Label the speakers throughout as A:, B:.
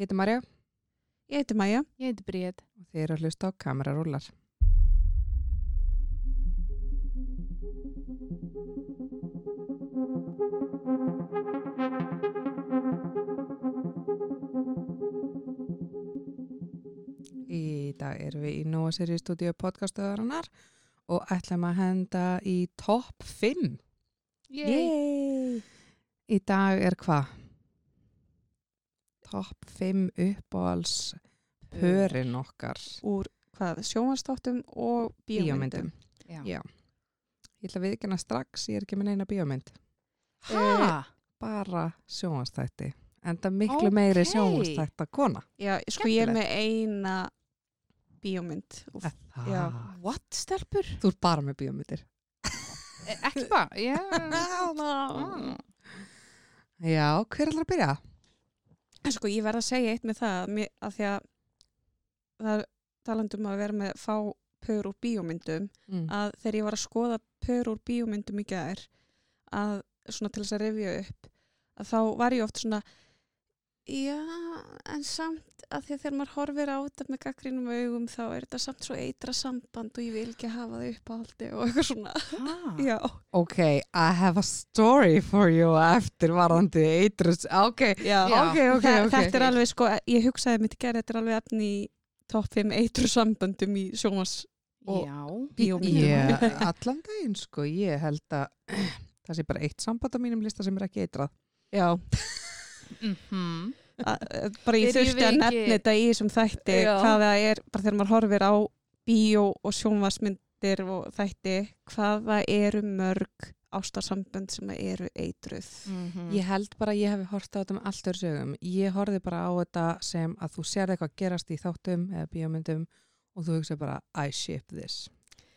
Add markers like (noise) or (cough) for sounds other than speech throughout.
A: Ég heiti Marja
B: Ég heiti Maja.
C: Ég heiti Bríð.
A: og þið eru að hlusta á kamerarúlar. Í dag erum við í Nóa Siri stúdíu podcastuðarinnar og ætlum að henda í topp 5.
B: Yay!
A: Í dag er hvað? Topp 5 uppáhals pörin okkar.
B: Úr hvað, sjónvarsdóttum og bíómyndum.
A: Bíómyndum. Já. Ég ætla að viðkjanna strax, ég er ekki með neina bíómynd.
C: Hæ?
B: Eh,
A: Bara sjónvastætti. Enda miklu
C: Ókei.
A: meiri sjónvastætt að kona.
B: Já, sko ég er
C: Skemmtilegt.
B: með eina bíómynd. Úf, já.
C: What, stelpur?
A: Þú ert bara með bíómyndir.
C: E ekki bara, já. Ah.
A: (laughs) Já, hver ætlar að byrja?
C: Ah.
B: En sko ég verð að segja eitt með það, mér, að því að það er talandum að vera með fá pör úr bíómyndum,
A: Mm.
B: að þegar ég var að skoða pör úr bíómyndum í gær, að svona til þess að revja upp, að þá var ég oft svona, já, en samt að því að þegar maður horfir á þetta með gaggrínum augum, þá er þetta samt svo eitra samband og ég vil ekki hafa það upp á haldi og eitthvað svona.
A: Ah.
C: Ha.
B: Já,
A: Ok, I have a story for you eftir varðandi eitrus. Ok,
B: já.
A: ok, ok,
B: Þa,
A: ok.
B: Þetta er alveg sko, ég hugsaði mitt í gerð, þetta er alveg efni í topp 5 eitru samböndum í sjónvars Og-
C: Já.
B: bíómyndum.
A: Ég, allan daginn sko, ég held að (clears throat) það sé bara eitt samband á mínum lista sem er ekki eitrað.
B: Já,
C: Mm -hmm.
B: að- að bara ég
C: Byrjum
B: þurfti að
C: við ekki-
B: nefna þetta í þessum þætti
C: Já.
B: hvað það er, bara þegar maður horfir á bíó og sjónvarsmyndir og þætti, hvað það eru mörg ástarsambönd sem að eru eitruð. Mhm.
A: Ég held bara að ég hef hort á þetta með allt öðru sögum. Ég horfði bara á þetta sem að þú sér eitthvað gerast í þáttum eða bíómyndum og þú hugsa bara I ship this.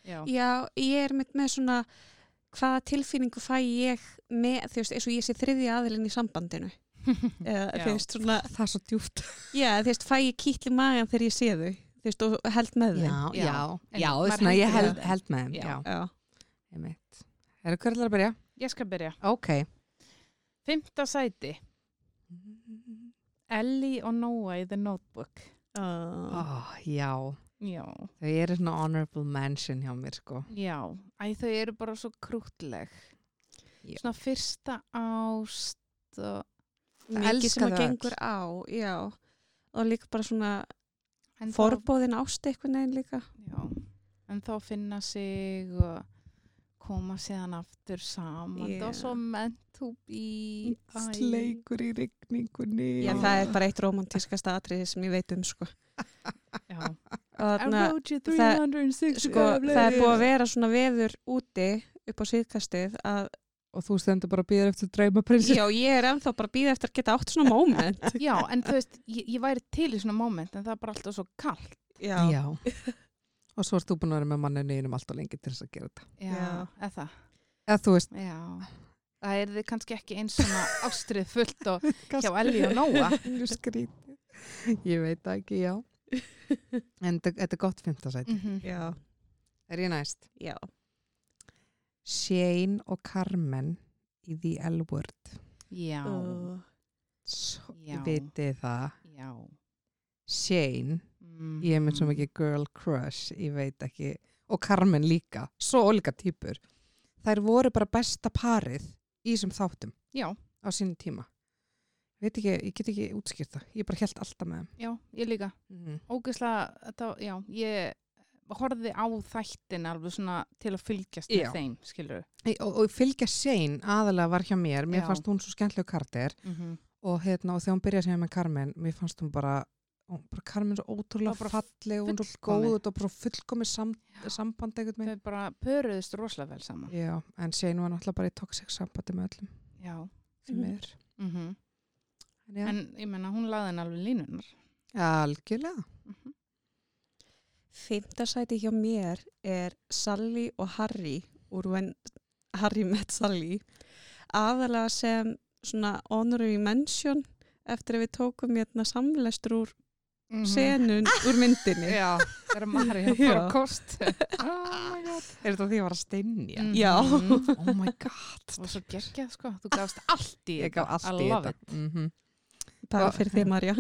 C: Já.
B: Já, ég er mitt með svona hvaða tilfinningu fæ ég með, þú veist, eins og ég sé þriðja aðilinn í sambandinu. Eða,
C: Já.
B: þú veist, svona,
A: Það er svo djúpt.
B: já, þú veist, fæ ég kýtli magan þegar ég sé þau, þú veist, og held með þeim.
C: Já. En
A: já,
C: maður
A: svona ég
C: heldur
A: held,
C: það.
A: held með þeim,
C: Já.
A: já.
B: Já.
A: Ég mitt. Er það hverjulega að byrja?
C: Ég skal byrja.
A: Ok.
C: Fymta sæti. Ellie og Noah í The Notebook.
B: Uh,
A: Oh, já,
C: Já.
A: þau eru svona honorable mention hjá mér sko.
C: Já. Æ, þau eru bara svo krútleg.
A: Já.
C: Svona fyrsta ást og
B: mikið
A: elska
B: sem að
A: þau öll.
B: gengur á, já. Og líka bara svona
C: En þá-
B: forbóðin ást eitthvað neginn líka.
C: Já. En þá finna sig og koma síðan aftur saman.
B: Já.
C: Það var svo meant to be.
A: í
C: Æ.
A: rigningunni.
B: Já, það er bara eitt romantískasta atriði sem ég veit um, sko.
C: Já.
B: Og þarna,
C: you
B: það-
C: 360
B: sko, það er búið að vera svona veður úti upp á síðkastið (laughs) að,
A: Og þú stendur bara að býða eftir draumaprinsin.
B: já, ég er ennþá bara að býða eftir að geta átt svona moment.
A: (laughs)
C: Já, en þú veist, ég, ég væri til í svona moment en það er bara alltaf svo kallt
B: (laughs) Já.
A: Já. (laughs) og svo erst þú búin að vera með manninu innum alltaf lengi til þess að gera þetta.
C: Já,
B: Já.
C: eða það
A: Eða þú veist,
C: Já, það er þið kannski ekki
A: (laughs)
C: eins svona ástrið fullt og hjá Ellie og (laughs) Nóa
A: Nú skrítið. Ég veit það ekki, já.
C: (laughs)
A: En þetta- þetta er gott fymtasæti.
C: mm -hmm.
B: Já.
A: Er ég næst?
B: Já.
A: Shane og Carmen í The L-Word.
C: Já,
B: Uh,
A: Svo
C: Já.
A: vitið það.
C: já
A: Shane,
C: mm
A: ég er með svo mikið girl crush, ég veit ekki. Og Carmen líka, svo ólíka týpur. Þær voru bara besta parið í þessum þáttum
C: Já,
A: á sínum tíma. Veit ekki, ég get ekki útskýrt það. Ég bara held alltaf með þeim.
C: já, ég líka
A: Mm.
C: Ógeðslega, þetta, já, ég horfði á þættin alveg svona til að fylgjast
A: Já.
C: með þeim, skilur
A: Nei, og, og fylgja Shane aðalega var hjá mér mér
C: Já.
A: fannst hún svo skemmtileg karakter
C: mm -hmm.
A: og, hérna, og þegar hún byrjaði að segja með Carmen mér fannst hún bara, hún, bara Carmen svo ótrúlega
C: Bara bara
A: falleg hún svo
C: fullkomin.
A: góð og þetta var bara fullkomi sam, samband einhvern veginn
C: Þau bara pöruðust rosalega vel saman
A: Já, en Shane var náttúrulega bara í toxic sambandi með öllum
C: Já,
A: sem
B: Mhm.
A: er
C: mm
A: en, já,
C: en ég menna hún laði henni alveg línunar
A: Algjörlega
C: mm -hmm.
B: Fymta sæti hjá mér er Sally og Harry úr When Harry Met Sally aðalega sem svona honorary mention eftir að við tókum hérna samlæstur úr
A: Mhm.
C: mm
B: senun úr myndinni
C: Já, þegar Marja
B: Já.
C: fór á (laughs) kost oh my god
A: Er þetta því að ég var að steinja?
B: Já.
C: Mhm.
A: Oh my god
C: Og svo geggjað sko, þú gafst allt í
A: (laughs) Ég gaf allt
C: I
A: í
C: love
A: þetta
C: it.
A: mm -hmm.
B: bara
A: Já.
B: fyrir þig (laughs) Marja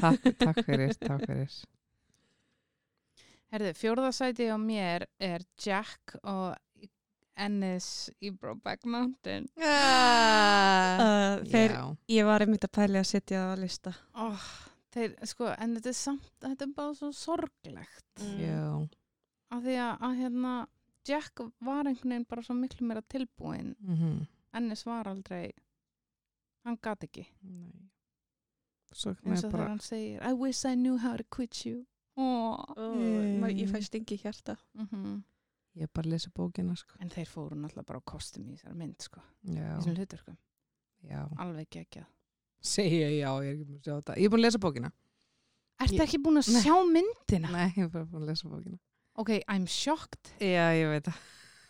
A: takk, takk fyrir, takk fyrir. (laughs)
C: Herðu, fjórðasæti á mér er Jack og Ennis í Brokeback Mountain.
A: Uh,
B: uh, þeir,
A: Já,
B: ég var einmitt að pæli að setja það á lista
C: Oh, þeir, sko, en þetta er samt, þetta er bara svo sorglegt.
A: já,
C: Af því að, að hérna, Jack var einhvern veginn bara svo miklu meira tilbúin.
A: mhm,
C: Ennis var aldrei, hann gat ekki.
A: nei. Svo
C: Eins
A: kannu
C: og
A: ég bara,
C: þegar hann segir, I wish I knew how to quit you. Oh.
B: Ó,
A: Mm.
B: ma- ég fæ stingi í hjarta
C: Mm
A: ég bara lesi bókina, sko.
C: En þeir fóru náttúrulega bara á kostum í þessari mynd, sko.
A: Já,
C: Þessum hluturkum.
A: já.
C: Alveg geggjað.
A: Segja já, ég er ekki búin að sjá þetta. Ég er búin að lesa bókina.
C: Ertu
A: Ég-
C: ekki búin að
A: Nei.
C: sjá myndina?
A: Nei, ég er bara búin að lesa bókina.
C: Ok, I'm shocked.
A: Já, ég veit það.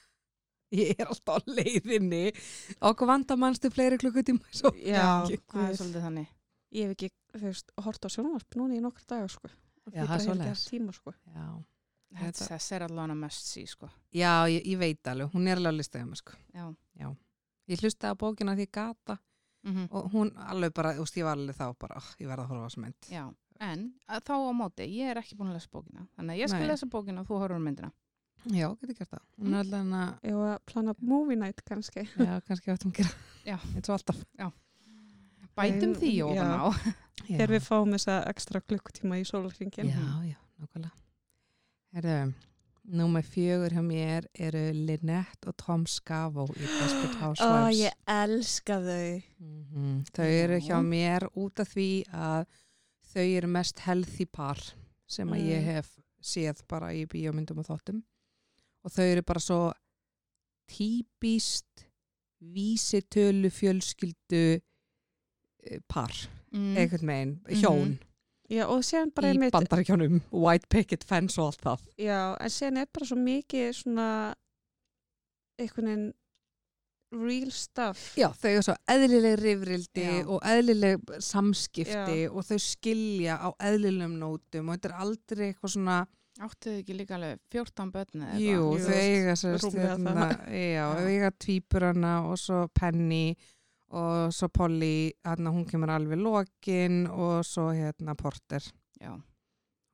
A: (laughs) Ég er alltaf á leiðinni. Okkur vanda mannstu fleiri klukkutíma svo.
B: Já,
A: Ég-
C: Það er
B: guð.
C: svolítið þannig.
B: ég hef ekki, þú veist, hort á sjónvarp núna í nokkra daga sko
A: Já, það er svoleiðis.
B: tíma, sko.
A: Já,
C: Þetta...
A: Þetta-
C: Þess er allan að mest sí, sko.
A: já ég, ég veit alveg. Hún er alveg að lista hjá mér, sko.
C: Já.
A: Ég hlusta á bókina því ég gata
C: Mm
A: og hún alveg bara, þú veist, ég var alveg þá bara, oh, ég verða að horfa á þessu mynd.
C: Já. En að þá á móti, ég er ekki búin að lesa bókina. Þannig að ég skal
A: Nei.
C: lesa bókina og þú horfur um myndina.
A: Já, getur gert það. Hún er alveg að
B: Ég var að plana movie night kannski.
A: Já, kannski áttum að gera.
C: Já.
A: Eins og alltaf.
C: Bætum
B: Nei,
C: því
B: já.
C: ofan á.
A: Já,
B: Þegar við fáum þessa ekstra klukkutíma í sólarringin.
A: já, já, nákvæmlega. Herru, númer fjögur hjá mér eru Lynette og Tom Skavo í
B: (gasps)
A: Desperate Housewives.
B: elska þau.
A: Mhm. Þau eru hjá
C: Já.
A: mér út af því að þau eru mest healthy par sem að ég
B: Mm.
A: hef séð bara í bíómyndum og þóttum og þau eru bara svo típist vísitölu fjölskyldu eh, par,
C: Mm.
A: einhvern veginn hjón
B: Já, og séðan Mhm, bara
A: í
B: einmitt,
A: bandaríkjónum, white picket fence og allt það
B: já, en séðan er bara svo mikið svona einhvern veginn real stuff.
A: Já, þau eru svo eðlileg rifrildi
C: Já.
A: og eðlileg samskipti og þau skilja á eðlilegum nótum og þetta er aldrei eitthvað svona
C: Áttu þau ekki líka alveg 14 börni? eða
A: Jú,
B: Jú,
A: þau eiga sér
B: rúmlega
A: stjórna, já,
C: Já.
A: þau eiga tvíburana og svo Penny og svo Polly, hérna hún kemur alveg lokin og svo hérna Porter
C: Já.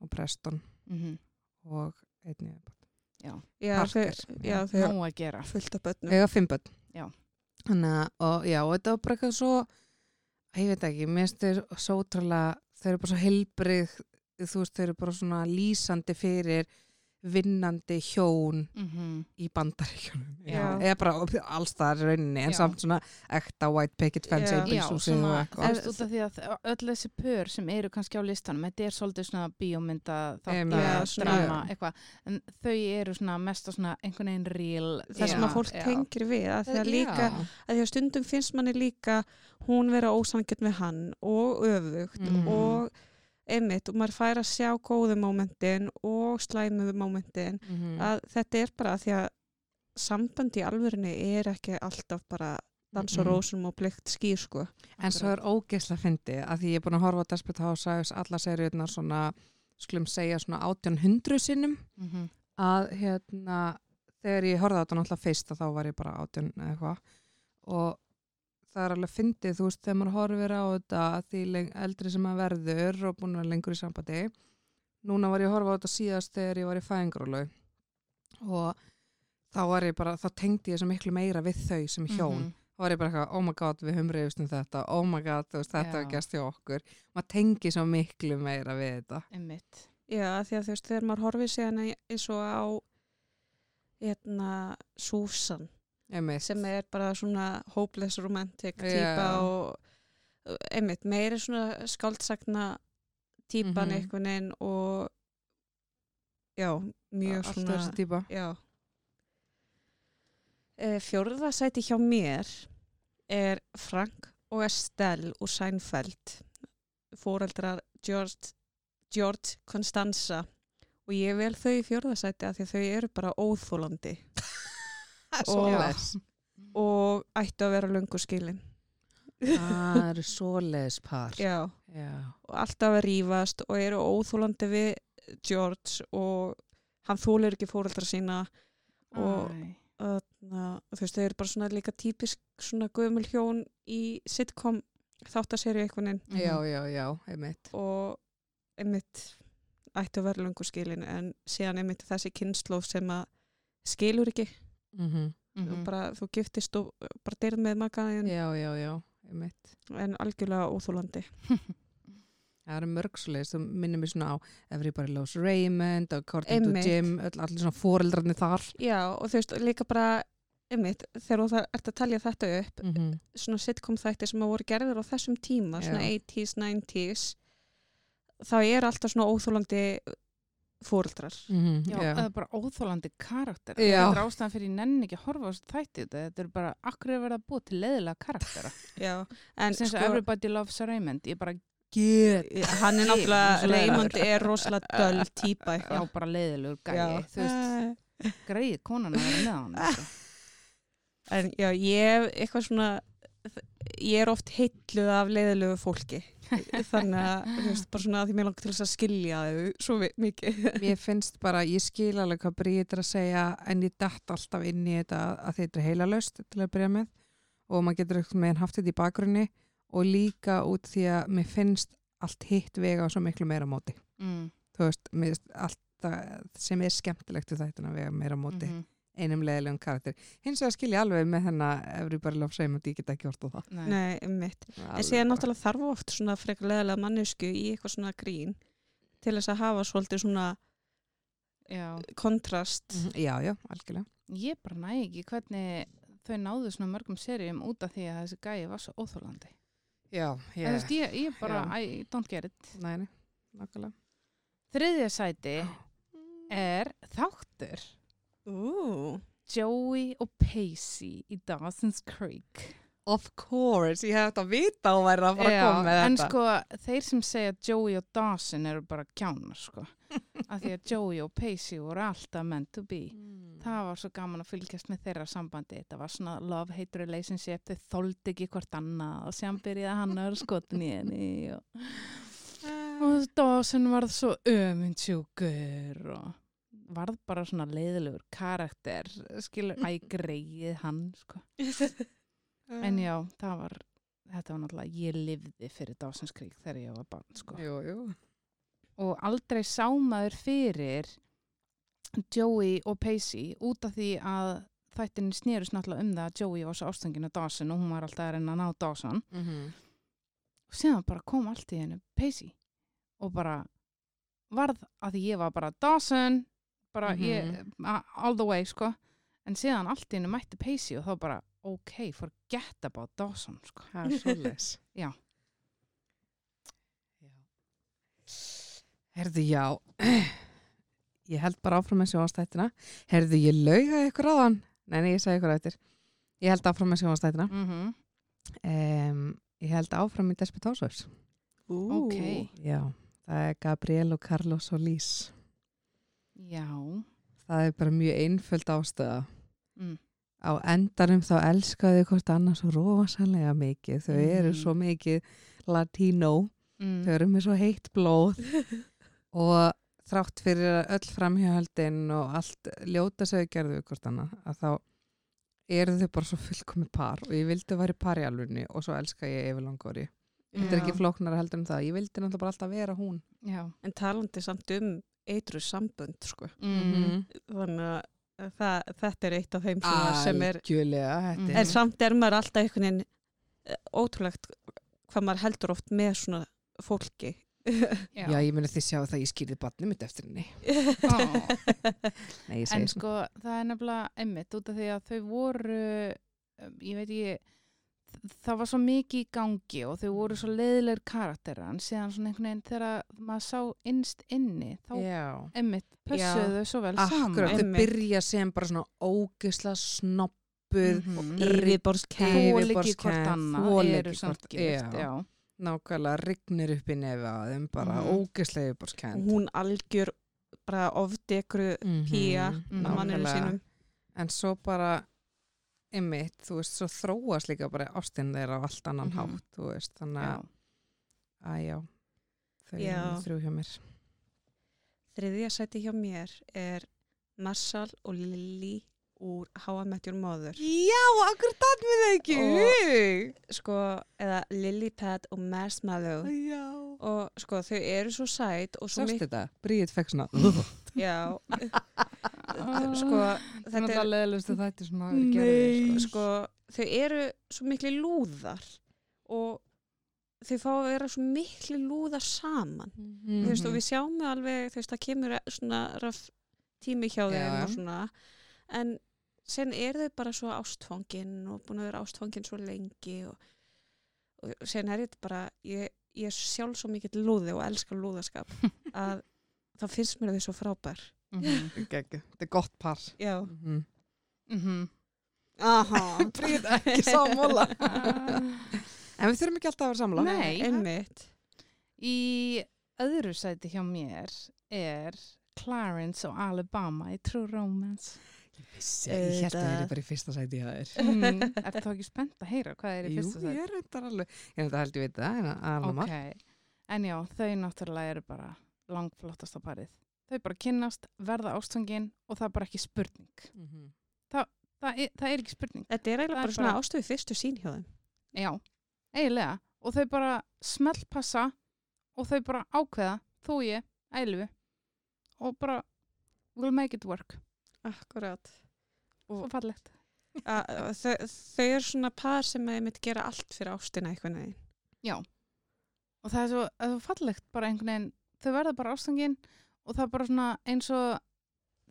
A: og Preston
C: Mm -hmm.
A: og einnig.
B: Já,
A: Parker.
B: þau, já, þau
C: Ná að gera.
B: fullt af
A: Þau
B: börnum.
A: eiga fimm börn.
C: Já.
A: Þannig að, og já, og þetta var bara eitthvað svo, Æ, ég veit ekki, mér finnst þau svo ótrúlega, þau eru bara svo heilbrið, þú veist, þau eru bara svona lýsandi fyrir vinnandi hjón
C: Mm
A: í bandaríkjunum
B: Já.
A: eða bara alls það er rauninni en
C: Já.
A: samt svona ekta white picket fence
B: Já.
C: Já,
A: einbilshúsið og
C: svona, þú
A: eitthvað
C: veist, út af því að öll þessi pör sem eru kannski á listanum, þetta er svolítið svona bíómynda,
A: Em,
C: þáttar,
B: já, svona-
C: drama, eitthvað, en þau eru svona mest á svona einhvern veginn real.
B: Það sem
A: Já, Eh,
B: að fólk tengir við, að því að líka,
A: Já.
B: að því að stundum finnst manni líka hún vera ósangjönd við hann og öfugt
A: Mhm.
B: og einmitt og maður fær að sjá góðu mómentin og slæmuðu mómentin
A: Mhm.
B: að þetta er bara að því að sambandi í alvörinni er ekki alltaf bara dans og
A: Mhm.
B: rósum og blikt skýr sko.
A: en svo er ógeðslega fyndi að því ég er búin að horfa á Desperate Housewives alla seriurnar svona skulum segja svona 1800 sinnum
C: Mm -hmm.
A: að hérna þegar ég horfði á þetta náttúrulega fyrst að þá var ég bara 18 eða eitthvað og það er alveg fyndið þú veist þegar maður horfir á þetta að því leng- eldri sem maður verður og búin að vera lengur í sambandi núna var ég að horfa á þetta síðast þegar ég var í fæðingrólu og þá var ég bara, þá tengdi ég svo miklu meira við þau sem hjón
B: Mhm.
C: mhm,
A: þá var ég bara eitthvað, oh my god, við höfum reyfist um þetta oh my god, þú veist, þetta
C: Já.
A: var gæst hjá okkur maður tengi svo miklu meira við þetta
C: Einmitt.
B: Já, að því að þú veist, þegar maður horfið sér hana eins og á hérna, Susan
A: einmitt,
B: sem er bara svona hopeless romantic
A: Já.
B: típa og uh, einmitt meiri svona skáldsakna típan
A: Mhm.
B: einhvern veginn og já, mjög
A: alltaf
B: svona
A: þessi
B: (laughs)
A: típa
B: já e, fjórða sæti hjá mér er Frank og Estelle úr Seinfeld fóreldrar George, George Constanza og ég vel þau í fjórða sæti af því að þau eru bara óþólandi
A: og
B: Já. og ættu að vera löngu skilin
A: Ah, Það eru svoleiðis par.
B: já,
A: Já.
B: og alltaf að rífast og eru óþólandi við George og hann þólir ekki fóreldra sína Og-
C: Æ.
B: öðna, þú veist, þau eru bara svona líka típisk svona gömul hjón í sitcom þáttaserju einhvern veginn
A: já, já, já, einmitt
B: og einmitt ætti að vera lungu skilin en síðan einmitt þessi kynnslóð sem að skilur ekki
A: mm
C: mhm,
B: mm. bara, þú giftist og bara deyrð með makaðin
A: já, já, já, einmitt
B: en algjörlega óþúlandi
A: það eru mörg svoleiðis, þú minnir mér svona á Everybody Loves Raymond og According
B: Einmitt.
A: to Jim, öll, allir svona foreldrarnir þar
B: já og þú veist líka bara einmitt þegar þú þar- ert að talja þetta upp
A: mm -hmm.
B: svona sitcom þætti sem að voru gerðir á þessum tíma svona
A: Já.
B: 80s, 90s þá eru alltaf svona óþúlandi fóreldrar
C: Já,
A: já,
B: um,
C: það er bara óþólandi karakter.
A: Já.
C: Þetta er ástæðan fyrir ég nenni ekki að horfa á þessu þætti þetta. Þetta er bara, akkur er verið að búa til leiðilega karaktera.
B: já (laughs) en
C: Sem sko, everybody loves Raymond. Ég bara
A: get
B: hann er náttúrulega,
C: Svo leiðilegur.
B: Raymond er
C: (laughs)
B: rosalega döl típa
C: Já,
B: eitthvað
C: bara leiðilegur gæi. Þú veist, greið konan að vera með hann. Sko.
B: Eh, en já, ég hef eitthvað svona ég er oft heitluð af leiðilegu fólki
C: (laughs)
B: þannig að, þú veist, bara svona að því mér langar til þess að skilja þau svo mi- mikið
A: Mér finnst bara, ég skil alveg hvað Bríð er að segja en ég dætt alltaf inn í þetta að þetta er heilalaust til að byrja með og maður getur eitthvað meðan haft þetta í bakgrunni og líka út því að mér finnst allt hitt vega á svo miklu meira móti.
C: Mm,
A: Þú veist, mér finnst allt það sem er skemmtilegt við þetta vega meira móti
C: mhm,
A: einum leðilegum karakter. Hins vegar skil ég alveg með hennar Everybody Loves Raymond, ég get ekki orðið á það.
C: nei.
B: nei, mitt, en
A: Alveg
B: síðan
A: bara.
B: náttúrulega þarf oft svona frekar leiðilega mannesku í eitthvað svona grín til þess að hafa svolítið svona
C: Já,
B: kontrast
A: Mhm, Já, já, algjörlega.
C: ég bara næ ekki hvernig þau náðu svona mörgum serjum út af því að þessi gæi var svo óþólandi.
A: Já,
C: Yeah. Þú veist, ég, ég bara,
A: Já.
C: I don't get it.
A: Nei, nei, nákvæmlega.
C: Þriðja sæti er þáttur
B: ú,
C: Joey og Pacey í Dawson's Creek.
A: Of course, ég hef þetta að vita og væri að fara að koma með
C: en
A: þetta.
C: sko, þeir sem segja Joey og Dawson eru bara kjánar,
A: (laughs)
C: sko. Af því að Joey og Pacey voru alltaf meant to be.
A: Mm.
C: Það var svo gaman að fylgjast með þeirra sambandi. Þetta var svona love-hate relationship, þau þóldi ekki hvort annað og sem byrjaði hann að vera skotin í henni og, og Dawson varð svo ömundsjúkur og varð bara svona leiðilegur karakter, skilur, æ, greið hann, sko.
A: Mm.
C: En já, það var, þetta var náttúrulega, ég lifði fyrir Dawson's Creek þegar ég var barn, sko.
A: Jú, jú.
C: Og aldrei sá maður fyrir Joey og Pacey út af því að þættinni snerust náttúrulega um það að Joey var svo ástangin á Dawson og hún var alltaf að reyna að ná Dawson.
A: Mhm.
C: Og síðan bara kom allt í hennu Pacey og bara varð að því ég var bara Dawson, bara
A: Mhm.
C: ég, a- all the way, sko. En síðan allt í hennu mætti Pacey og þá bara, ok, forget about Dawson, sko.
A: Það er svolítið.
C: Já.
A: Herðu, já. (clears throat) Ég held bara áfram með sjónastættina. Herðu, ég lauga ykkur á þann. Nei, nei, ég segi ykkur á eftir. Ég held áfram með sjónastættina.
C: Mm
A: Um, ég held áfram í Desperate Housewives.
B: (laughs) ú
C: Ok,
A: Já, það er Gabriel og Carlos og Lís.
C: já.
A: Það er bara mjög einföld ástöða.
C: Mm.
A: á endanum þá elskaðu þau hvort annars svo rosalega mikið þau eru
C: Mhm.
A: svo mikið latínó
C: Mm.
A: þau eru með svo heitt
C: (laughs)
A: blóð og þrátt fyrir að öll framhjöldin og allt ljóta sem þau gerðu við hvort annað að þá eru þau bara svo fullkomi par og ég vildi að vera par í alvunni og svo elska ég yfir langori þetta er
C: Já.
A: ekki flóknara heldur en það ég vildi náttúrulega bara alltaf vera hún
C: Já.
B: en talandi samt um eitru sambönd sko.
C: Mhm.
A: Mhm.
C: Mm.
B: þannig að það, þetta er eitt af þeim svona sem er
A: Algjörlega, þetta
C: Mhm.
A: er
B: en samt er maður alltaf einhvern veginn eh, ótrúlegt hvað maður heldur oft með svona fólki
C: Já.
A: Já, ég meni þið sjá það ég skýrði barnið mitt eftir henni
C: Ó.
B: (laughs)
A: Nei, ég
C: En
A: segi
C: sko, það er nefnilega einmitt út af því að þau voru, um, ég veit ekki, þ- það var svo mikið í gangi og þau voru svo leiðilegur karakterar en síðan svona einhvern veginn þegar maður sá innst inni, þá
A: Já
C: einmitt pössuðu þau svo vel
A: Akkurat,
C: saman.
A: þau
B: Einmitt.
A: byrja sem bara svona ógisla snoppuð
C: Mhm.
A: Yfirborðskennd,
B: yfirborðskæð
C: Þola ekki hvort annað,
A: þola
C: eru
A: ekki
C: samt
A: hvort- já.
C: gift, já.
A: nákvæmlega rignir upp í nefi að þeim bara
C: Mhm.
A: mm. ógisla yfirborskend
B: hún algjör bara ofdekru pía
C: Mhm.
B: að manninu sínum
A: en svo bara ymmit, þú veist, svo þróast líka bara ástinn þeirra á allt annan
C: Mhm.
A: hátt þú veist, þannig
C: Já.
A: að, að já þau
B: Já.
A: eru þrjú hjá mér
B: þriðja sæti hjá mér er Marshall og Lily úr How I Met Your Mother
A: Já, akkur datt mér það ekki
B: Og-
A: og...
B: sko, eða Lillipad og Marshmallow
A: Já
B: og sko þau eru svo sæt og svo
A: Sást
B: mikið
A: þetta, Bríðið fekk svona
B: já,
A: Ah,
B: sko,
C: Ah. Þetta er
B: þetta
C: alltaf
B: er
C: leðilustu þættir sem hafa
A: Nei.
C: gerðið. Sko.
B: sko, þau eru svo mikli lúðar og þau fá að vera svo mikli lúðar saman
A: mm
B: þú veist og við sjáum það alveg þú veist það kemur svona raff tími hjá þeim
A: Já.
B: og svona en sen er þau bara svo ástfangin og búin að vera ástfangin svo lengi og, og sen er þetta bara ég, ég er sjálf svo mikill lúði og elska lúðaskap að þá finnst mér þau svo frábær
C: Mhm.
A: Þetta er gott par
B: já
A: mm -hmm.
C: Mhm.
B: Aha, (laughs)
A: Bríðið ekki sammála
C: (laughs)
A: En við þurfum ekki alltaf að vera sammála
C: Nei.
B: Eh, einmitt
C: Í öðru sæti hjá mér er Clarence og Alabama í True Romance.
A: Vissi, Ég held að það er
B: Auðvitað.
A: bara í fyrsta sæti að það er
C: (laughs) Mm, er það ekki spennt að heyra hvað er í
A: Jú,
C: fyrsta sæti?
A: ég er reyndar alveg Ég held að held ég veit það, en að alveg
C: Ok, en já, þau náttúrulega eru bara langflottasta parið. Þau bara kynnast, verða ástfangin og það er bara ekki spurning. Það er, það er ekki spurning.
B: Þetta er
C: Það
B: eiginlega
C: er
B: bara svona
C: bara-
B: ástu við fyrstu sín hjá þeim
C: Já, eiginlega. Og þau bara smellpassa og þau bara ákveða, þú og ég, ælu og bara we'll make it work.
B: Akkurát
C: Svo fallegt.
B: Þau, þau eru svona par sem að mitt gera allt fyrir ástina einhvern veginn
C: Og það er svo, það er svo fallegt bara einhvern veginn, þau verða bara ástfangin og það er bara svona eins og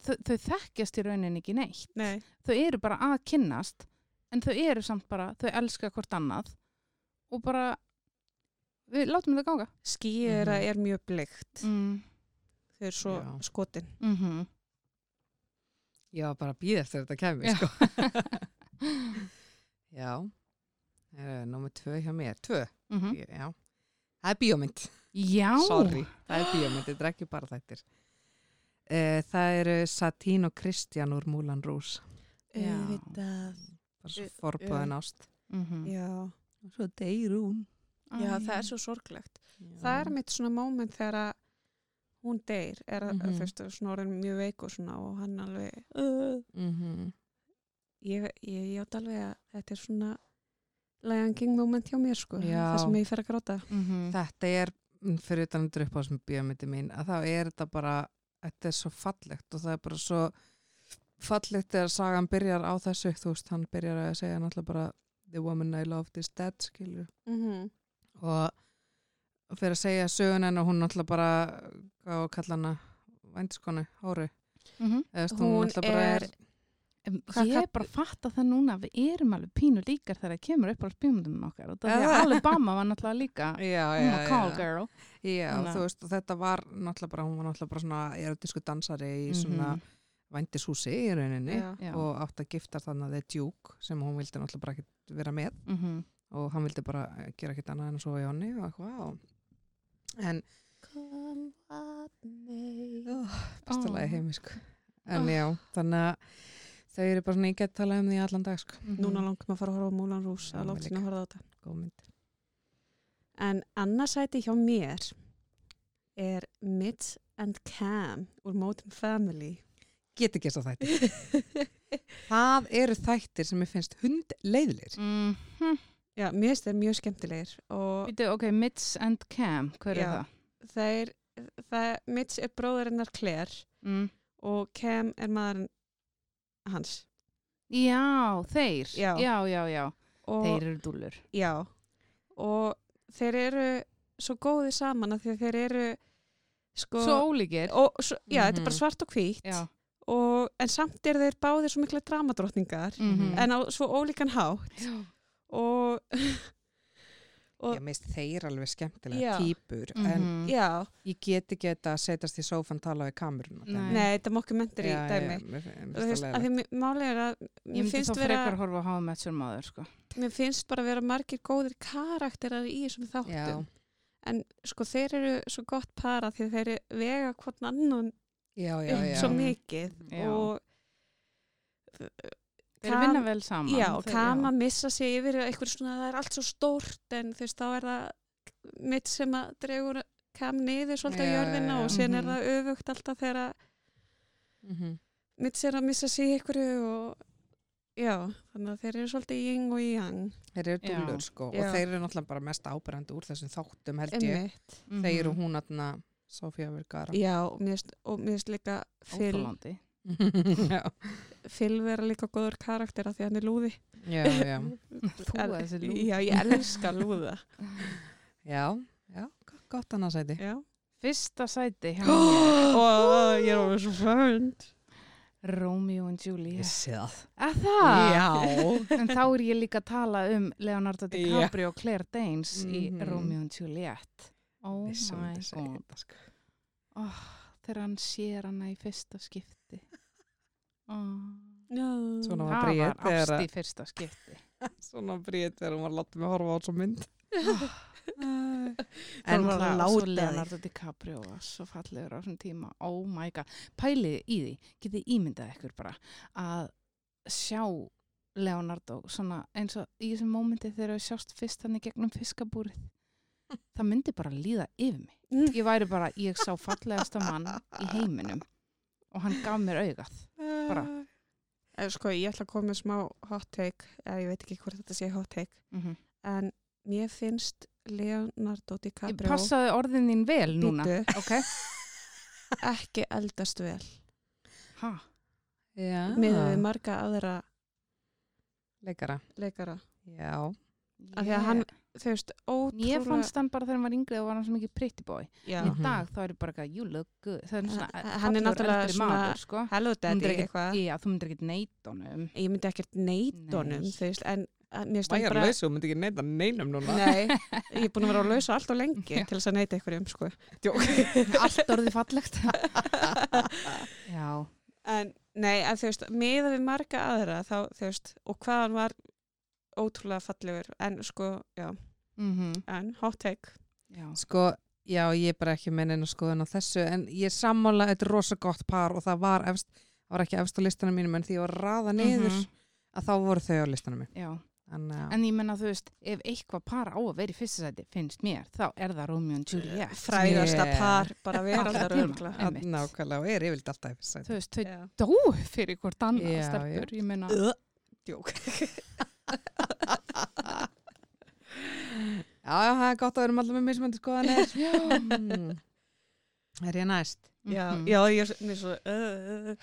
C: þau, þau þekkjast í rauninni ekki neitt.
B: Nei
C: þau eru bara að kynnast en þau eru samt bara, þau elska hvort annað og bara við látum þau ganga
B: skýið þeirra er mjög bleikt
C: mm.
B: þau eru svo
A: Já.
B: skotin
C: Mm
A: Ég var bara að býða eftir að þetta kemur
C: Já.
A: sko. Já Eh, Númer tvö hjá mér Tvö,
C: Mm.
A: ég, já Það er bíómynd,
C: mhm. já
A: sorry Það er bíómynd, þetta er ekki bara þættir uh, Það eru Satín og Kristján úr Múlan Rús
C: Já.
B: Auðvitað.
A: Bara svo forbúðan ást
C: Mhm.
B: Já.
A: Og Svo deyr hún
B: Mm. Já,
C: Æ.
B: það er svo sorglegt það er mitt svona moment þegar að hún deyr er að, mm
A: Mhm.
B: -hmm. fyrst, svona orðin mjög veik og svona og hann alveg uh,
A: mm -hmm.
B: ég, ég hjátt alveg að þetta er svona læganging moment hjá mér sko
A: Já.
B: það sem ég fer að gráta
C: Mhm.
A: Þetta er, mm, fyrir utan að druppa á sem bíómyndi mín, að þá er þetta bara, þetta er svo fallegt og það er bara svo fallegt þegar sagan byrjar á þessu, þú veist, hann byrjar að segja náttúrulega bara The woman I loved is dead, skilur,
B: mm -hmm.
A: og fyrir að segja sögun hennar, hún náttúrulega bara, hvað á að kalla hana, vændiskonu, hóri,
C: Mhm.
A: eða þú veist,
B: Hún
A: hún náttúrulega bara
B: er-
A: er,
C: Em,
A: Hvað
C: ég er bara að fatta það núna að við erum alveg pínu líkar þegar það kemur upp á spjómundum okkar og það er
A: (laughs) Eða?
C: að Alabama var náttúrulega líka
A: já,
C: hún
A: já,
C: var
A: já,
C: call girl
A: já,
C: Þannig að-
A: þú veist, og þetta var náttúrulega bara, hún var náttúrulega bara svona erotísku dansari í svona mm
C: Mhm.
A: vændishúsi í rauninni,
C: Já.
A: og átt að giftast þannig að það er djúk sem hún vildi náttúrulega bara ekki vera með
C: Mhm.
A: og hann vildi bara eh, gera ekkert annað en að sofa í honni og eitthvað og en
B: Come up me
A: besta
C: Ó.
A: lagi heimi sko en já, þannig að þau eru bara svona ég gett talað um því allan dag sko
C: Mhm.
B: Núna langum að fara að horfa á Múlan Rús
A: Já,
B: að
A: mér
B: láta sinna að
A: líka.
B: horfa á þetta
A: góð mynd
B: En annarsæti hjá mér er Mitch and Cam úr Modern Family.
A: get ekki þess að þættir
C: (laughs)
A: það eru þættir sem ég finnst hund leiðilir
C: Mhm.
B: Já, mér finnst þeir mjög skemmtilegir og
C: Bíddu, ok, Mitts and Cam hver er
B: Já.
C: það?
B: þeir, það, Mitch er bróðurinnar Claire
C: Mm.
B: og Cam er maðurinn hans.
C: Já, þeir.
B: Já.
C: já, já. já.
B: Og,
C: Þeir eru dúllur.
B: Já, og þeir eru svo góði saman að því að þeir eru sko...
C: Svo ólíkir.
B: og, svo, já, þetta er
A: Mhm.
B: bara svart og hvítt
C: Já.
B: og, en samt eru þeir báðir svo mikla dramadrottningar
A: Mhm.
B: en á svo ólíkan hátt og og-
A: ég minnst þeir alveg skemmtilega
B: Já.
A: típur en
C: Mhm.
B: já,
A: ég get ekki þetta að setjast í sófan tala við kamerun
C: Nei.
B: nei, þetta er mokkumentir í dæmi Þú veist, af
A: dæmi
B: því mér- málið er að
C: Ég
B: mér
C: myndi
B: finnst,
C: þá
B: vera,
C: frekar horfa að hafa með sér maður, sko.
B: mér finnst bara vera margir góðir karakterar í þessum þáttum
A: já,
B: en sko þeir eru svo gott para því að þeir eru vega hvort annan
A: já, já,
B: upp
A: já.
B: svo mikið
C: Já.
B: og
C: Þeir
B: Kam-
C: vinna vel saman.
B: já,
C: Þeir-
B: kam að missa sig yfir eitthvað svona, það er allt svo stórt en þú veist, þá er það mitt sem að dregur kam niður svolítið á
A: Já, já,
B: jörðina
A: já.
B: og síðan
C: Mhm.
B: er það öfugt alltaf þegar að
A: Mhm.
B: Mitch er að missa sig í ykkur og já, þannig að þeir eru svolítið í ying og í yang.
A: Þeir eru
C: Já.
A: dúllur sko
B: Já.
A: og þeir eru náttúrulega bara mest ábyrjandi úr þessum þáttum held ég.
B: Einmitt.
C: Mhm.
A: Þeir eru hún aðna Sofía Vergara.
B: Já, og mér finnst- og mér finnst líka Phil,
C: Óþólandi.
A: (laughs) já,
B: Phil vera líka góður karakter af því að hann er lúði.
A: já, já.
C: Þú að þessi lú.
B: Já, ég elska lúða.
A: Já, já, go- gott annarsæti.
B: Já.
C: Fyrsta sæti
B: (gasps)
C: hjá mér.
B: Og ég er alveg svo fönd.
C: Romeo and Juliet.
A: sé það.
C: Að það?
A: Já.
C: En þá er ég líka að tala um Leonardo DiCaprio og Claire Danes
A: Mhm.
C: í Romeo and Juliet. Oh
A: Vissi hún
C: my
A: þessi
C: god.
A: þetta, sko.
C: Oh, þegar hann sér hana í fyrsta skipti. Oh.
A: Svona var
C: Það var
A: Bríet þegar
C: ást
A: að-
C: í fyrsta skipti.
A: svona brýtt þegar hún var látið með að horfa á svo mynd.
B: Hún var
C: klá-
B: að láta
C: svo
B: þig.
C: Leonardo DiCaprio var svo fallegur á þessum tíma oh my god, pælið í því getið ímyndað ykkur bara að sjá Leonardo svona eins og í þessum mómenti þegar við sjást fyrst hann í gegnum
A: (laughs)
C: fiskabúrið það myndi bara líða yfir mig
B: Mm.
C: ég væri bara, ég sá fallegasta mann í heiminum og hann gaf mér augað bara.
B: Sko, ég ætla að koma með smá hot take, eða ég veit ekki hvort þetta sé hot take,
C: mm
A: Mm-hmm.
C: -hmm.
B: en mér finnst Leonardo
C: ég
B: DiCaprio
C: passaði orðin þín vel núna
B: Bíddu.
C: ok,
B: ekki eldast vel
C: ha,
A: Já.
B: miðað við marga aðra
A: Leikara.
B: leikara.
A: Já.
B: Af því að hann, þau veist, ótrúlega...
C: Ég fannst hann bara þegar hann var yngri og var hann svo mikið pretty boy.
B: Já.
C: En í dag þá er ég bara eitthvað, you look good. Það er svona,
B: H-
C: eh,
B: hann er
C: fallegur
B: náttúrulega
C: eldri
B: svona-
C: maður, sko.
B: Hello
C: myndir
B: Daddy,
C: ekki-
B: eitthvað.
C: Já, þú myndir ekki neitt honum.
B: Ég myndi ekkert neitt
C: Nei.
B: honum, þau veist, en að mér finnst hann
A: Væjar
B: bara...
A: lausu, hún myndi ekki neita neinum núna.
B: Nei, ég er búin að vera að lausa allt og lengi
C: Já.
B: til þess að neita einhverjum, sko.
C: Allt orðið
B: (laughs)
C: fallegt. já,
B: En, nei, en þú veist, miðað við marga aðra, þá, þú veist, og hvað hann var ótrúlega fallegur, en sko, já,
C: mm
B: en hot take.
C: já.
A: Sko, já, ég er bara ekki með neina skoðun á þessu, en ég er sammála, þetta er rosa gott par og það var efst, það var ekki efst á listanum mínum, en því ég var að raða niður,
C: Mhm.
A: að þá voru þau á listanum mínum.
C: já.
A: Þannig að,
C: En ég menna, þú veist, ef eitthvað par á að vera í fyrsta sæti, finnst mér, þá er það Romeo and Juliet.
B: Frægasta
A: Yeah.
B: par, bara
C: Alla
B: veraldar
C: tíma.
B: örgla.
A: að
C: einmitt.
A: nákvæmlega, og er yfirlt alltaf eftir sæti.
C: Þú veist, þau
B: Já.
C: dó fyrir hvort annað
A: Já,
C: stelpur, ég menna.
B: Djók.
A: Já, já, það er gott að við erum alltaf með mismöndi skoðanir.
C: (laughs) Já.
A: Mm. er ég næst?
B: Já,
C: Mhm.
B: já, ég er mér svo, uh,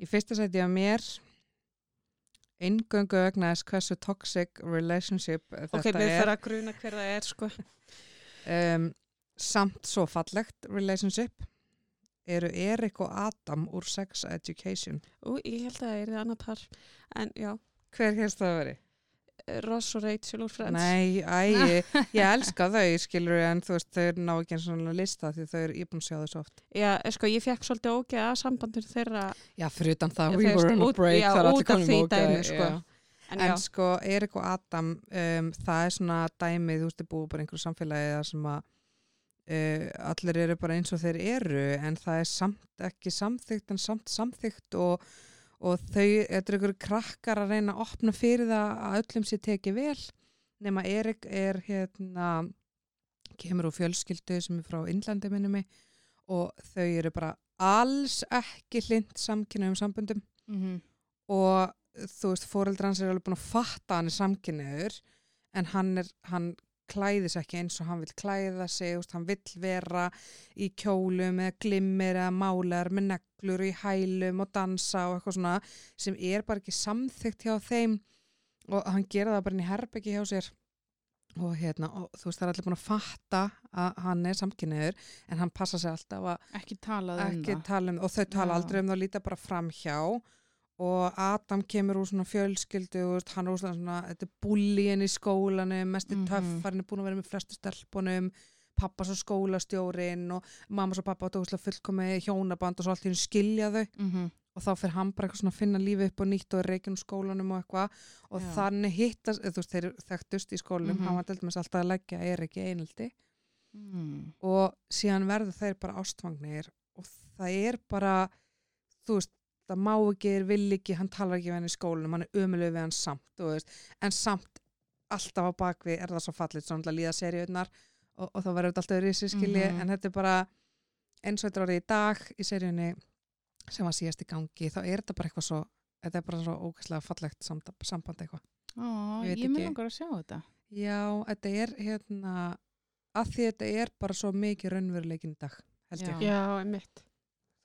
A: Í fyrsta sæti á mér eingöngu vegna þess hversu toxic relationship
B: ok,
A: þetta
B: mér
A: er
B: fyrir að gruna hver það er, sko.
A: um, samt svo fallegt relationship eru Erik og Adam úr Sex Education
B: Ú, ég held að það er annað par, en já,
A: Hver hérst það að veri?
B: Ross og Rachel úr Friends.
A: Nei, æ, ég, ég elska þau skilur en þú veist þau ná ekki eins og svona lista því þau eru ég er búin að sjá þau svo oft
B: Já, sko, ég fekk svolítið ógeða sambandur þeirra, eh,
A: Já, fyrir utan
B: Þú
A: það, we
B: veist,
A: were on a
B: út-
A: break
B: já,
A: það er allir
B: út af
A: komin
B: því
A: með ógæði,
B: dæmi, sko.
A: já.
B: en,
A: En
B: já,
A: sko, Erik og Adam, um, það er svona dæmið, þú veist, er búið bara í einhverju samfélagi þar sem að uh, allir eru bara eins og þeir eru en það er samt ekki samþygt en samt samþygt og, og þau, þetta er einhverju krakkar að reyna að opna fyrir það að öllum sér tekið vel nema Erik er hérna kemur úr fjölskyldu sem er frá Indlandi minnum mig og þau eru bara alls ekki hlind samkynna um sambundum
C: Mhm.
A: og þú veist, fóreldra hans er alveg búin að fatta að hann er samkynniður en hann, er, hann klæðis ekki eins og hann vil klæða sig, þú veist, hann vill vera í kjólum eða glimmir eða málar með neglur og í hælum og dansa og eitthvað svona sem er bara ekki samþygt hjá þeim og hann gera það bara inn í herbyggi hjá sér og hérna, og, þú veist, það er allir búin að fatta að hann er samkynniður en hann passa sig alltaf að
C: Ekki talað um
A: ekki
C: það.
A: tala um, og þau tala
C: Já.
A: aldrei um það líta bara framhjá og Adam kemur úr svona fjölskyldu þú veist, hann er úr svona, þetta er búlíin í skólanum mest í
C: Mhm.
A: töff, hann er búin að vera með flestu stelpunum pappa svo skólastjórin og mamma svo pappa og það fullkomi hjónaband og svo allt í hún skilja þau
C: Mhm.
A: og þá fyrir hann bara eitthvað svona að finna lífi upp og nýtt og reikjum skólanum og eitthvað og
C: Já.
A: þannig hittast, eða þú veist, þeir þekktust í skólanum,
C: Mhm.
A: hann var delt með þess alltaf að leggja er ekki einaldi
C: Mm.
A: og síðan verður þeir bara ástfangnir og það er bara þú veist, það má ekki, er vill ekki hann talar ekki við hann í skólanum, hann er ömulegu við hann samt, þú veist, en samt alltaf á bakvið er það svo fallið svo náttúrulega líða seriunar og, og þá verður þetta alltaf risi skilji,
C: Mhm.
A: en þetta er bara eins og þetta er orðið í dag í seríunni sem var síðast í gangi, þá er þetta bara eitthvað svo þetta er bara svo ógæslega fallegt samband, samband eitthvað.
C: Ó,
A: Ég veit
C: ég mun
A: ekki.
C: langar að sjá þetta.
A: Já, þetta er hérna að því þetta er bara svo mikið raunveruleikin í dag, held
C: Já.
A: ég.
B: Já, einmitt.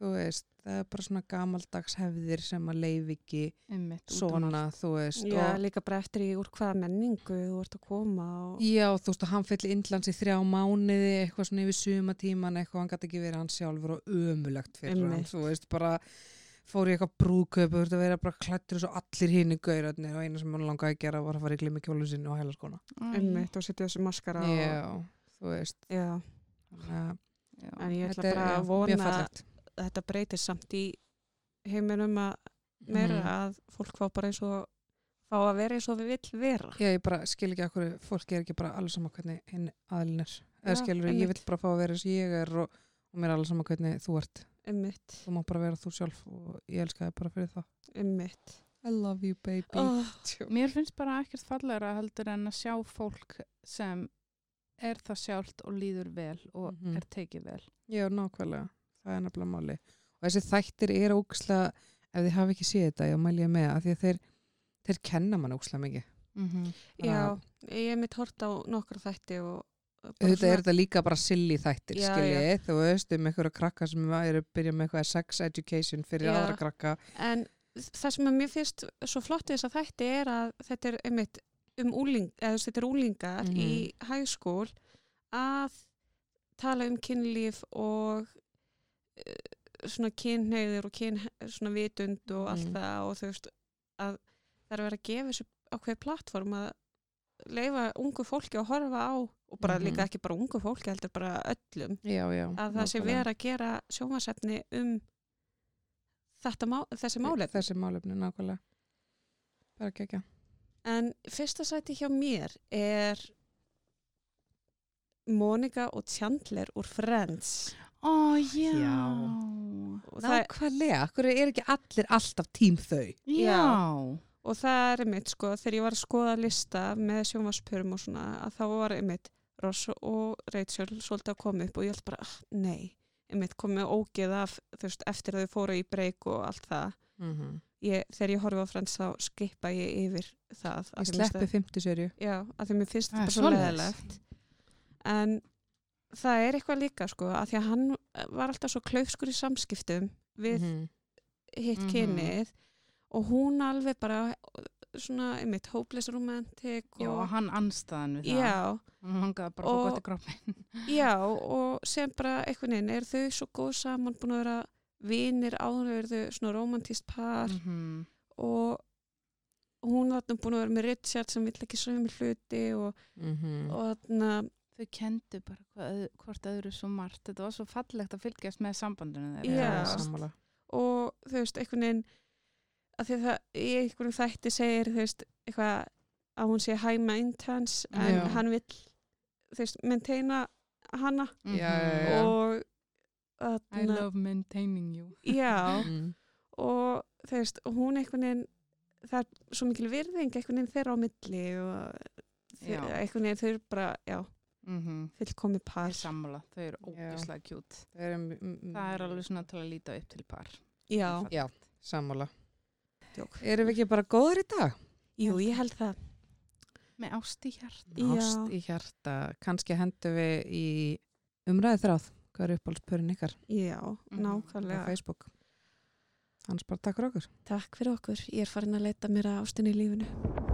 A: Þú veist, það er bara svona gamaldags hefðir sem að leif ekki
C: Einmitt, út um
A: svona,
C: allt.
A: þú veist.
B: Já,
A: og,
B: líka bara eftir í úr hvaða menningu þú ert að koma og...
A: já, þú veist, og hann fyll Indlands í þrjá mánuði, eitthvað svona yfir sumatíman, eitthvað, hann gæti ekki verið hann sjálfur og ömulegt fyrir hann,
B: Einmitt.
A: þú veist, bara fór í eitthvað brúðkaup, þú veist, að vera bara klættur svo allir hinn í gaurarnir og eina sem hann langaði að gera var að fara í glimmi kjólu sinni og hælaskona.
C: Æ,
B: Einmitt og setja þessu maskara og...
A: Já, þú veist,
B: Já.
A: þannig að
C: já.
B: En ég ætla
A: þetta er
B: bara
A: já,
B: að
A: mjög
B: vona að
A: fallegt.
B: þetta breytir samt í heiminum að meira
A: Mhm.
B: að fólk fá bara eins og fá að vera eins og við vill vera.
A: Já, ég bara skil ekki akkur, fólk er ekki bara alveg sama hvernig hinn aðlinn er. Eða
B: Já,
A: skilur, ég
B: einmitt.
A: vil bara fá að vera eins og ég er og, og mér er alveg sama hvernig þú ert.
B: Einmitt,
A: Þú má bara vera þú sjálf og ég elska þig bara fyrir það. Ah.
B: einmitt.
A: I love you baby.
B: Oh,
C: Mér finnst bara ekkert fallegra heldur en að sjá fólk sem er það sjálft og líður vel og
A: Mhm.
C: er tekið vel.
A: Já, nákvæmlega. Það er nefnilega máli. Og þessi þættir er ókslega, ef þið hafi ekki séð þetta, já, mæli ég með, af því að þeir, þeir kenna mann ókslega mikið.
C: Mm -hmm.
B: já, ég hef mitt hort á nokkra þætti og
A: Þetta er þetta líka bara silly þættir,
B: Já,
A: skiljið, þú veist, um einhverja krakka sem eru að byrja með eitthvað sex education fyrir
B: Já.
A: aðra krakka.
B: En það sem að mér finnst svo flott við þess að þætti er að þetta er einmitt um úling, eða þú veist, þetta er úlingar
A: Mhm.
B: í hægskól að tala um kynlíf og eh, svona kynhneigður og kyn, svona vitund og allt
A: Mhm.
B: það og þú veist að það er verið að gefa þessu ákveð plattform að leifa ungu fólki að horfa á og bara
A: Mhm.
B: líka ekki bara ungu fólki heldur bara öllum
A: Já, já.
B: að það sé
A: nákvæmlega.
B: verið að gera sjónvarsefni um þetta má, þessi málefni.
A: þessi málefni nákvæmlega bara gegja
B: En fyrsta sæti hjá mér er Monika og Chandler úr Friends.
C: Ó, já.
A: Já.
B: Og það,
A: nákvæmlega, okkur er ekki allir alltaf tím þau
C: Já.
B: og það er einmitt sko, þegar ég var að skoða lista með sjónvarspörum og svona, að þá var einmitt Ross og Rachel svolítið að koma upp og ég held bara, ah, nei, einmitt komið ógeð af, þú veist, eftir að þau fóru í breyk og allt það. Ég, þegar ég horfi á Friends þá skipa ég yfir það. af
A: ég
B: því mér finnst það-
A: sleppi fymtu serju
B: Já, að því mér finnst
C: Það
B: þetta
C: er
B: bara svo
C: svoleiðis.
B: leðilegt. En það er eitthvað líka sko, að því að hann var alltaf svo klaufskur í samskiptum við hitt
C: Mhm.
B: kynið og hún alveg bara svona, einmitt, hopeless romantic
C: Já, og
B: og,
C: hann anstaðan við það.
B: já,
C: Hann langaði bara að fá
B: Og-
C: gott í kroppin.
B: já, og sem bara einhvern veginn, er þau svo góð saman búin að vera vinir áður eru þau svona romantíst par
C: Mm -hmm.
B: og hún var þarna búin að vera með Richard sem vill ekki sömu hluti og,
A: Mhm,
C: Mhm.
B: og þarna
C: Þau kendu bara hvað, öð- hvort öðru svo margt. Þetta var svo fallegt að fylgjast með sambandinu þeirra.
B: Já.
A: sammála
B: og þú veist, einhvern veginn að því að það í einhverjum þætti segir þú veist, eitthvað að hún sé high maintenance en
A: Já.
B: hann vill þú veist, maintaina hana
C: Mhm.
A: Já, já, já.
B: og
C: I
B: þarna-
C: love maintaining you.
B: já,
A: mm.
B: og þú veist, hún einhvern veginn það er svo mikil virðing einhvern veginn þeirra á milli og þeir,
C: Já.
B: einhvern veginn þau eru bara, já,
C: Mm -hmm.
B: fullkomi
C: Það
B: par
C: er sammála. Þau eru
A: Já.
C: ógislega kjút.
A: það er, mm,
C: Það er alveg svona til að líta upp til par.
B: já,
A: já, sammála
B: Djók.
A: erum við ekki bara góður í dag?
B: jú, ég held það
C: Með ást í hjart.
B: Já.
A: ást í hjarta, kannski hendum við í umræði þráð hvað er uppáhaldspörin ykkar
B: já,
C: Mhm.
A: á
B: nákvæmlega
A: Facebook hans bara takk fyrir okkur
B: Takk fyrir okkur. Ég er farin að leita mér að ástinni í lífinu.